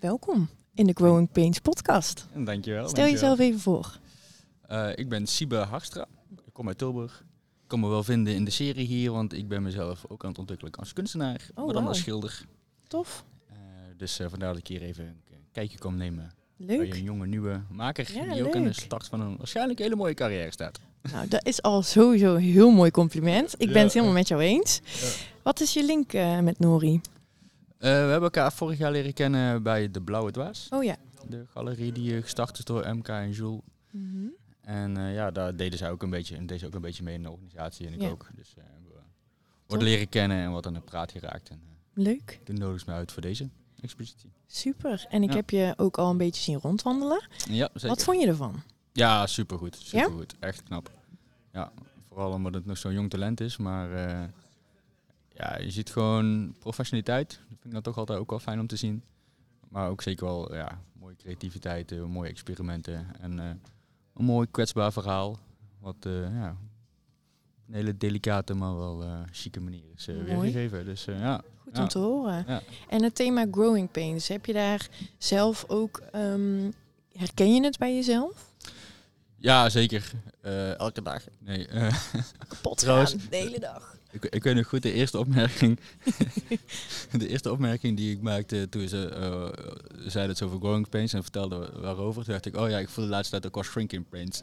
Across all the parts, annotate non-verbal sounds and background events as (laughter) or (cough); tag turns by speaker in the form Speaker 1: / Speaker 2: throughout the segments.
Speaker 1: Welkom in de Growing Pains podcast.
Speaker 2: Dankjewel. Oh, dankjewel.
Speaker 1: Stel jezelf even voor.
Speaker 2: Eh, ik ben Siebe Hagstra. Ik kom uit Tilburg. Ik kan me wel vinden in de serie hier, want ik ben mezelf ook aan het ontwikkelen als kunstenaar,
Speaker 1: Oh,
Speaker 2: maar dan als
Speaker 1: wauw.
Speaker 2: schilder.
Speaker 1: Tof.
Speaker 2: Eh, dus eh, vandaar dat ik hier even een k- kijkje kwam nemen bij
Speaker 1: Leuk.
Speaker 2: een jonge nieuwe maker
Speaker 1: Ja,
Speaker 2: die ook aan de
Speaker 1: leuk.
Speaker 2: start van een waarschijnlijk hele mooie carrière staat.
Speaker 1: Nou, dat is al sowieso een heel mooi compliment. Ik ben
Speaker 2: Ja.
Speaker 1: het helemaal met jou eens.
Speaker 2: Ja.
Speaker 1: Wat is je link eh, met Nori?
Speaker 2: Eh, we hebben elkaar vorig jaar leren kennen bij De Blauwe Dwaas,
Speaker 1: Oh ja.
Speaker 2: de galerie die eh, gestart is door MK en Jules.
Speaker 1: Mhm.
Speaker 2: En eh, ja, daar deden zij ook een beetje, en deed ze ook een beetje mee in de organisatie en ik
Speaker 1: Ja.
Speaker 2: ook. Dus eh, we
Speaker 1: Tof.
Speaker 2: worden leren kennen en wat aan de praat geraakt. En, eh,
Speaker 1: Leuk.
Speaker 2: Toen nodig ze mij uit voor deze expositie.
Speaker 1: Super. En ik
Speaker 2: Ja.
Speaker 1: heb je ook al een beetje zien rondwandelen.
Speaker 2: Ja, zeker.
Speaker 1: Wat vond je ervan?
Speaker 2: Ja, supergoed. Supergoed. Echt knap. Ja, vooral omdat het nog zo'n jong talent is. Maar eh, ja, je ziet gewoon professionaliteit. Dat vind ik dan toch altijd ook wel fijn om te zien. Maar ook zeker wel ja, mooie creativiteit, eh, mooie experimenten. En eh, een mooi kwetsbaar verhaal. Wat eh, ja, een hele delicate, maar wel eh chique manier is eh
Speaker 1: Mooi.
Speaker 2: weergegeven. Dus eh, ja,
Speaker 1: Goed
Speaker 2: Ja.
Speaker 1: om te horen.
Speaker 2: Ja.
Speaker 1: En het thema Growing Pains, heb je daar zelf ook... ehm, herken je het bij jezelf?
Speaker 2: ja, zeker. Eh, elke dag. Nee, eh,
Speaker 1: Kapot
Speaker 2: Trouwens-
Speaker 1: gaan, de hele dag.
Speaker 2: Ik, ik weet nog goed de eerste opmerking. (laughs) de eerste opmerking die ik maakte toen ze eh zeiden het over growing pains en vertelde waarover. Toen dacht ik, oh ja, ik voel de laatste tijd ook wel shrinking pains.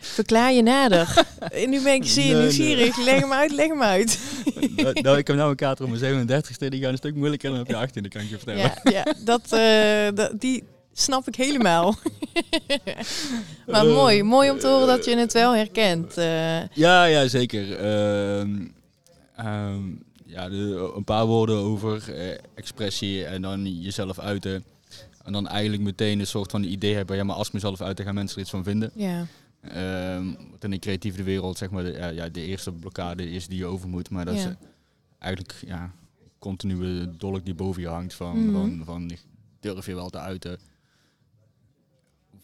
Speaker 1: Verklaar je
Speaker 2: (laughs)
Speaker 1: nader. En nu ben ik zeer
Speaker 2: Nee, nee.
Speaker 1: nieuwsgierig. Leg hem uit, leg hem uit.
Speaker 2: nou, nou, ik heb nou een kater op mijn 37ste, die gaan een stuk moeilijker dan op je 18e, kan ik je vertellen.
Speaker 1: Ja, ja dat, eh, dat, die snap ik helemaal. (laughs) maar
Speaker 2: Eh,
Speaker 1: mooi, mooi om te horen dat je
Speaker 2: eh,
Speaker 1: het wel herkent. eh.
Speaker 2: Ja, ja, zeker. Ehm, ehm, ja, de- een paar woorden over eh, expressie en dan jezelf uiten. En dan eigenlijk meteen een soort van idee hebben, ja, maar als ik mezelf uit, dan gaan mensen er iets van vinden.
Speaker 1: ja,
Speaker 2: Ehm, want in de creatieve wereld, zeg maar, de, ja, ja, de eerste blokkade is die je over moet. Maar dat is
Speaker 1: Ja.
Speaker 2: eh, eigenlijk ja, continue dolk die boven je hangt. Van,
Speaker 1: Mhm.
Speaker 2: van, van durf je wel te uiten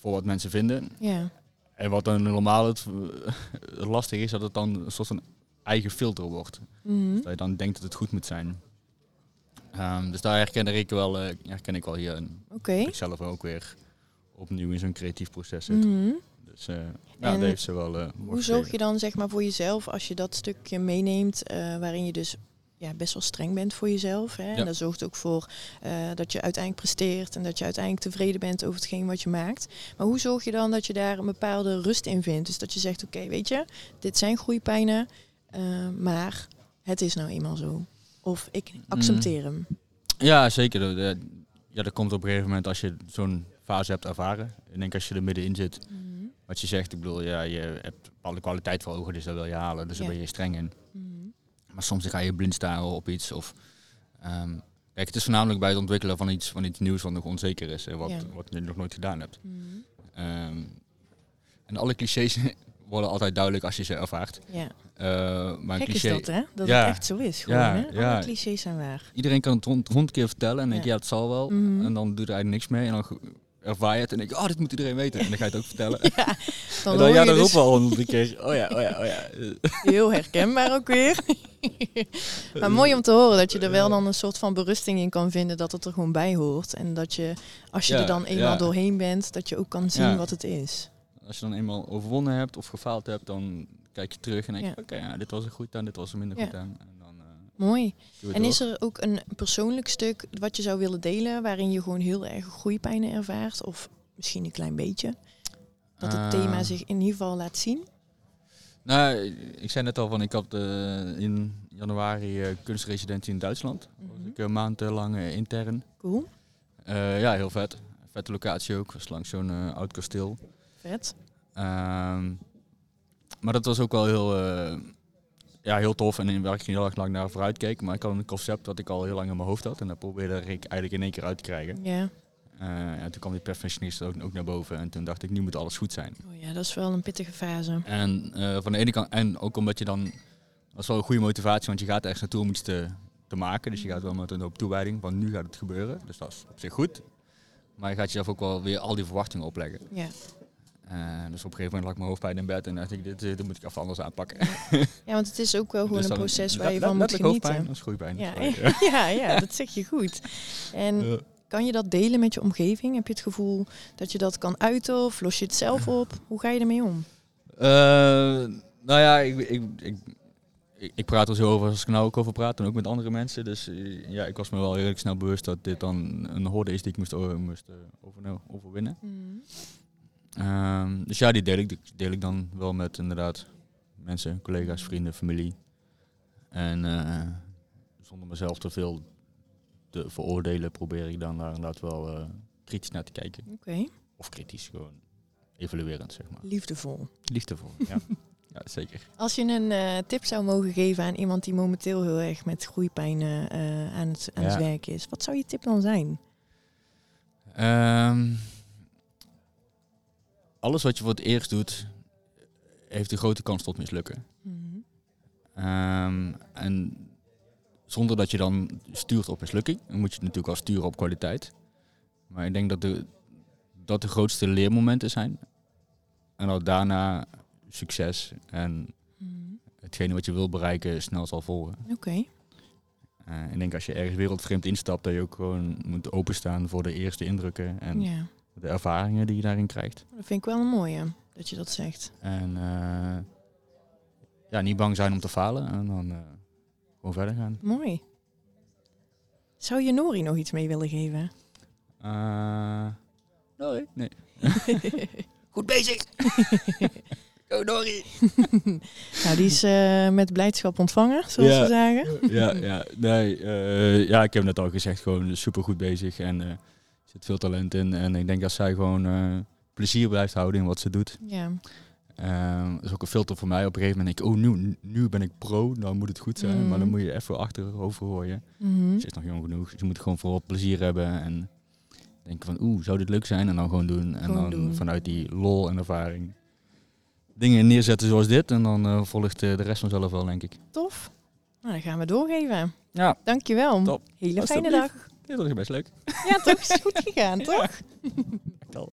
Speaker 2: voor wat mensen vinden.
Speaker 1: ja,
Speaker 2: En wat dan normaal het, eh, (laughs) lastig is, dat het dan een soort van eigen filter wordt.
Speaker 1: mhm.
Speaker 2: Dat je dan denkt dat het goed moet zijn. Ehm, dus daar herken ik wel, eh, herken ik wel hier. En
Speaker 1: oké.
Speaker 2: ik zelf ook weer opnieuw in zo'n creatief proces zit.
Speaker 1: Mhm.
Speaker 2: Dus eh ja, dat
Speaker 1: En
Speaker 2: heeft ze wel. eh, mooi
Speaker 1: Hoe zorg
Speaker 2: gegeven.
Speaker 1: je dan zeg maar voor jezelf als je dat stukje meeneemt, eh, waarin je dus ja, best wel streng bent voor jezelf. Hè?
Speaker 2: Ja.
Speaker 1: En dat zorgt ook voor eh, dat je uiteindelijk presteert en dat je uiteindelijk tevreden bent over hetgeen wat je maakt. Maar hoe zorg je dan dat je daar een bepaalde rust in vindt? Dus dat je zegt, oké, weet je, dit zijn groeipijnen, eh, maar het is nou eenmaal zo. Of ik
Speaker 2: Mm.
Speaker 1: accepteer hem.
Speaker 2: Ja, zeker. Dat- dat- Ja, dat komt op een gegeven moment als je zo'n fase hebt ervaren. Ik denk als je er middenin zit,
Speaker 1: Mhm.
Speaker 2: wat je zegt, ik bedoel, ja, je hebt bepaalde kwaliteit voor ogen, dus dat wil je halen. Dus
Speaker 1: Ja.
Speaker 2: daar ben je streng in.
Speaker 1: Mhm.
Speaker 2: Mm-hmm. Maar soms ga je blind staren op iets. Of, ehm, kijk, het is voornamelijk bij het ontwikkelen van iets, van iets nieuws wat nog onzeker is en wat,
Speaker 1: Ja.
Speaker 2: wat je nog nooit gedaan hebt.
Speaker 1: Mhm.
Speaker 2: Ehm, en alle clichés (laughs) worden altijd duidelijk als je ze ervaart.
Speaker 1: Ja,
Speaker 2: Eh, maar een
Speaker 1: gek is
Speaker 2: cliché,
Speaker 1: dat hè? Dat
Speaker 2: Ja.
Speaker 1: het echt zo is gewoon
Speaker 2: Ja,
Speaker 1: hè? Alle
Speaker 2: ja.
Speaker 1: clichés zijn waar.
Speaker 2: iedereen kan het hond- honderd keer vertellen en denk
Speaker 1: Ja.
Speaker 2: ja, het zal wel.
Speaker 1: Mhm.
Speaker 2: En dan doet er eigenlijk niks mee. En dan ge- ervaar je het en denk je, oh, dit moet iedereen weten. En dan ga je het ook vertellen.
Speaker 1: (laughs) Ja,
Speaker 2: en
Speaker 1: hoor
Speaker 2: dan, ja,
Speaker 1: je
Speaker 2: dat
Speaker 1: dus-
Speaker 2: roepen al honderd keer. Oh ja, oh ja, oh ja.
Speaker 1: (laughs) Heel herkenbaar ook weer.
Speaker 2: (laughs)
Speaker 1: maar mooi om te horen dat je er wel dan een soort van berusting in kan vinden dat het er gewoon bij hoort. En dat je, als je
Speaker 2: Ja,
Speaker 1: er dan eenmaal
Speaker 2: ja.
Speaker 1: doorheen bent, dat je ook kan zien
Speaker 2: Ja.
Speaker 1: wat het is.
Speaker 2: Als je dan eenmaal overwonnen hebt of gefaald hebt, dan kijk je terug en denk je,
Speaker 1: Ja.
Speaker 2: oké, ja, dit was er goed aan, dit was er minder
Speaker 1: Ja.
Speaker 2: goed aan. En, dan, eh,
Speaker 1: Mooi.
Speaker 2: doe het
Speaker 1: En
Speaker 2: door.
Speaker 1: is er ook een persoonlijk stuk wat je zou willen delen waarin je gewoon heel erg groeipijnen ervaart? Of misschien een klein beetje? Dat het
Speaker 2: Eh,
Speaker 1: thema zich in ieder geval laat zien?
Speaker 2: Nou, ik zei net al van, ik had eh, in januari eh, kunstresidentie in Duitsland. Was
Speaker 1: Mhm.
Speaker 2: ik een maand eh, lang eh, intern.
Speaker 1: Cool.
Speaker 2: Eh, ja, heel vet. Vette locatie ook, was langs zo'n eh, oud kasteel.
Speaker 1: Vet.
Speaker 2: Ehm, maar dat was ook wel heel, eh, ja, heel tof en in waar ik heel erg lang naar vooruit keek. Maar ik had een concept dat ik al heel lang in mijn hoofd had en dat probeerde ik eigenlijk in één keer uit te krijgen.
Speaker 1: Ja.
Speaker 2: Eh, en toen kwam die perfectionist ook, ook naar boven en toen dacht ik, nu moet alles goed zijn.
Speaker 1: Oh ja, dat is wel een pittige fase.
Speaker 2: En eh, van de ene kant, en ook omdat je dan, dat is wel een goede motivatie, want je gaat ergens naartoe om iets te, te maken. Dus je gaat wel met een hoop toewijding, want nu gaat het gebeuren. Dus dat is op zich goed. Maar je gaat jezelf ook wel weer al die verwachtingen opleggen.
Speaker 1: Ja.
Speaker 2: Eh, Eh, dus op een gegeven moment lag mijn hoofdpijn in bed en dacht ik, dit, eh, dit moet ik even anders aanpakken.
Speaker 1: Ja, want het is ook wel gewoon
Speaker 2: Dus
Speaker 1: een
Speaker 2: dan-
Speaker 1: proces
Speaker 2: le-
Speaker 1: waar je
Speaker 2: le-
Speaker 1: van moet
Speaker 2: letterlijk
Speaker 1: genieten.
Speaker 2: hoofdpijn, dat
Speaker 1: Ja, (laughs)
Speaker 2: is groeipijn.
Speaker 1: ja, ja, dat zeg je goed. En
Speaker 2: (laughs) Ja.
Speaker 1: kan je dat delen met je omgeving? Heb je het gevoel dat je dat kan uiten of los je het zelf op? Hoe ga je ermee om?
Speaker 2: Eh, nou ja, ik, ik, ik, ik, ik praat er zo over als ik er nou ook over praat en ook met andere mensen. Dus eh, ja, ik was me wel redelijk snel bewust dat dit dan een horde is die ik moest, o- moest eh, overne- overwinnen. Ehm, dus ja, die deel ik, die deel ik dan wel met inderdaad mensen, collega's, vrienden, familie. En eh, zonder mezelf te veel te veroordelen probeer ik dan daar inderdaad wel eh, kritisch naar te kijken.
Speaker 1: Oké,
Speaker 2: Of kritisch, gewoon evaluerend zeg maar.
Speaker 1: liefdevol.
Speaker 2: Liefdevol, ja. (laughs) ja, zeker.
Speaker 1: Als je een eh, tip zou mogen geven aan iemand die momenteel heel erg met groeipijn eh, eh, aan, het, aan het
Speaker 2: Ja.
Speaker 1: werk is, wat zou je tip dan zijn?
Speaker 2: Ehm, alles wat je voor het eerst doet, heeft een grote kans tot mislukken. Ehm, en zonder dat je dan stuurt op mislukking, dan moet je het natuurlijk al sturen op kwaliteit. Maar ik denk dat de, dat de grootste leermomenten zijn. En dat daarna succes en
Speaker 1: Mhm.
Speaker 2: hetgene wat je wil bereiken snel zal volgen.
Speaker 1: Oké,
Speaker 2: Eh, ik denk als je ergens wereldvreemd instapt, dat je ook gewoon moet openstaan voor de eerste indrukken en
Speaker 1: ja.
Speaker 2: de ervaringen die je daarin krijgt.
Speaker 1: dat vind ik wel een mooie dat je dat zegt.
Speaker 2: En eh, ja, niet bang zijn om te falen en dan eh, gewoon verder gaan.
Speaker 1: Mooi. Zou je Nori nog iets mee willen geven?
Speaker 2: Eh, nee. nee. (laughs) Goed
Speaker 1: (laughs)
Speaker 2: bezig! Go Dory!
Speaker 1: Nou, die is eh, met blijdschap ontvangen, zoals
Speaker 2: Ja.
Speaker 1: we zagen.
Speaker 2: (laughs) Ja, ja, nee, eh, ja, ik heb net al gezegd, gewoon super goed bezig en eh, er zit veel talent in. En ik denk dat zij gewoon eh, plezier blijft houden in wat ze doet.
Speaker 1: Ja.
Speaker 2: Ehm, dat is ook een filter voor mij. Op een gegeven moment denk ik, oh nu, nu ben ik pro, nou moet het goed zijn. Maar dan
Speaker 1: Mhm.
Speaker 2: moet je even achterover gooien.
Speaker 1: Mhm.
Speaker 2: Ze is nog jong genoeg. Ze moet gewoon vooral plezier hebben en denken van oeh, zou dit leuk zijn? En dan gewoon doen. En
Speaker 1: Gewoon
Speaker 2: dan
Speaker 1: doen.
Speaker 2: vanuit die lol en ervaring dingen neerzetten zoals dit. En dan eh, volgt eh, de rest vanzelf wel, denk ik.
Speaker 1: Tof. Nou, dan gaan we doorgeven.
Speaker 2: Ja,
Speaker 1: Dankjewel.
Speaker 2: Top.
Speaker 1: Hele fijne dag.
Speaker 2: Alsjeblieft. dit was best leuk. (laughs)
Speaker 1: Ja, toch? Is goed gegaan, toch?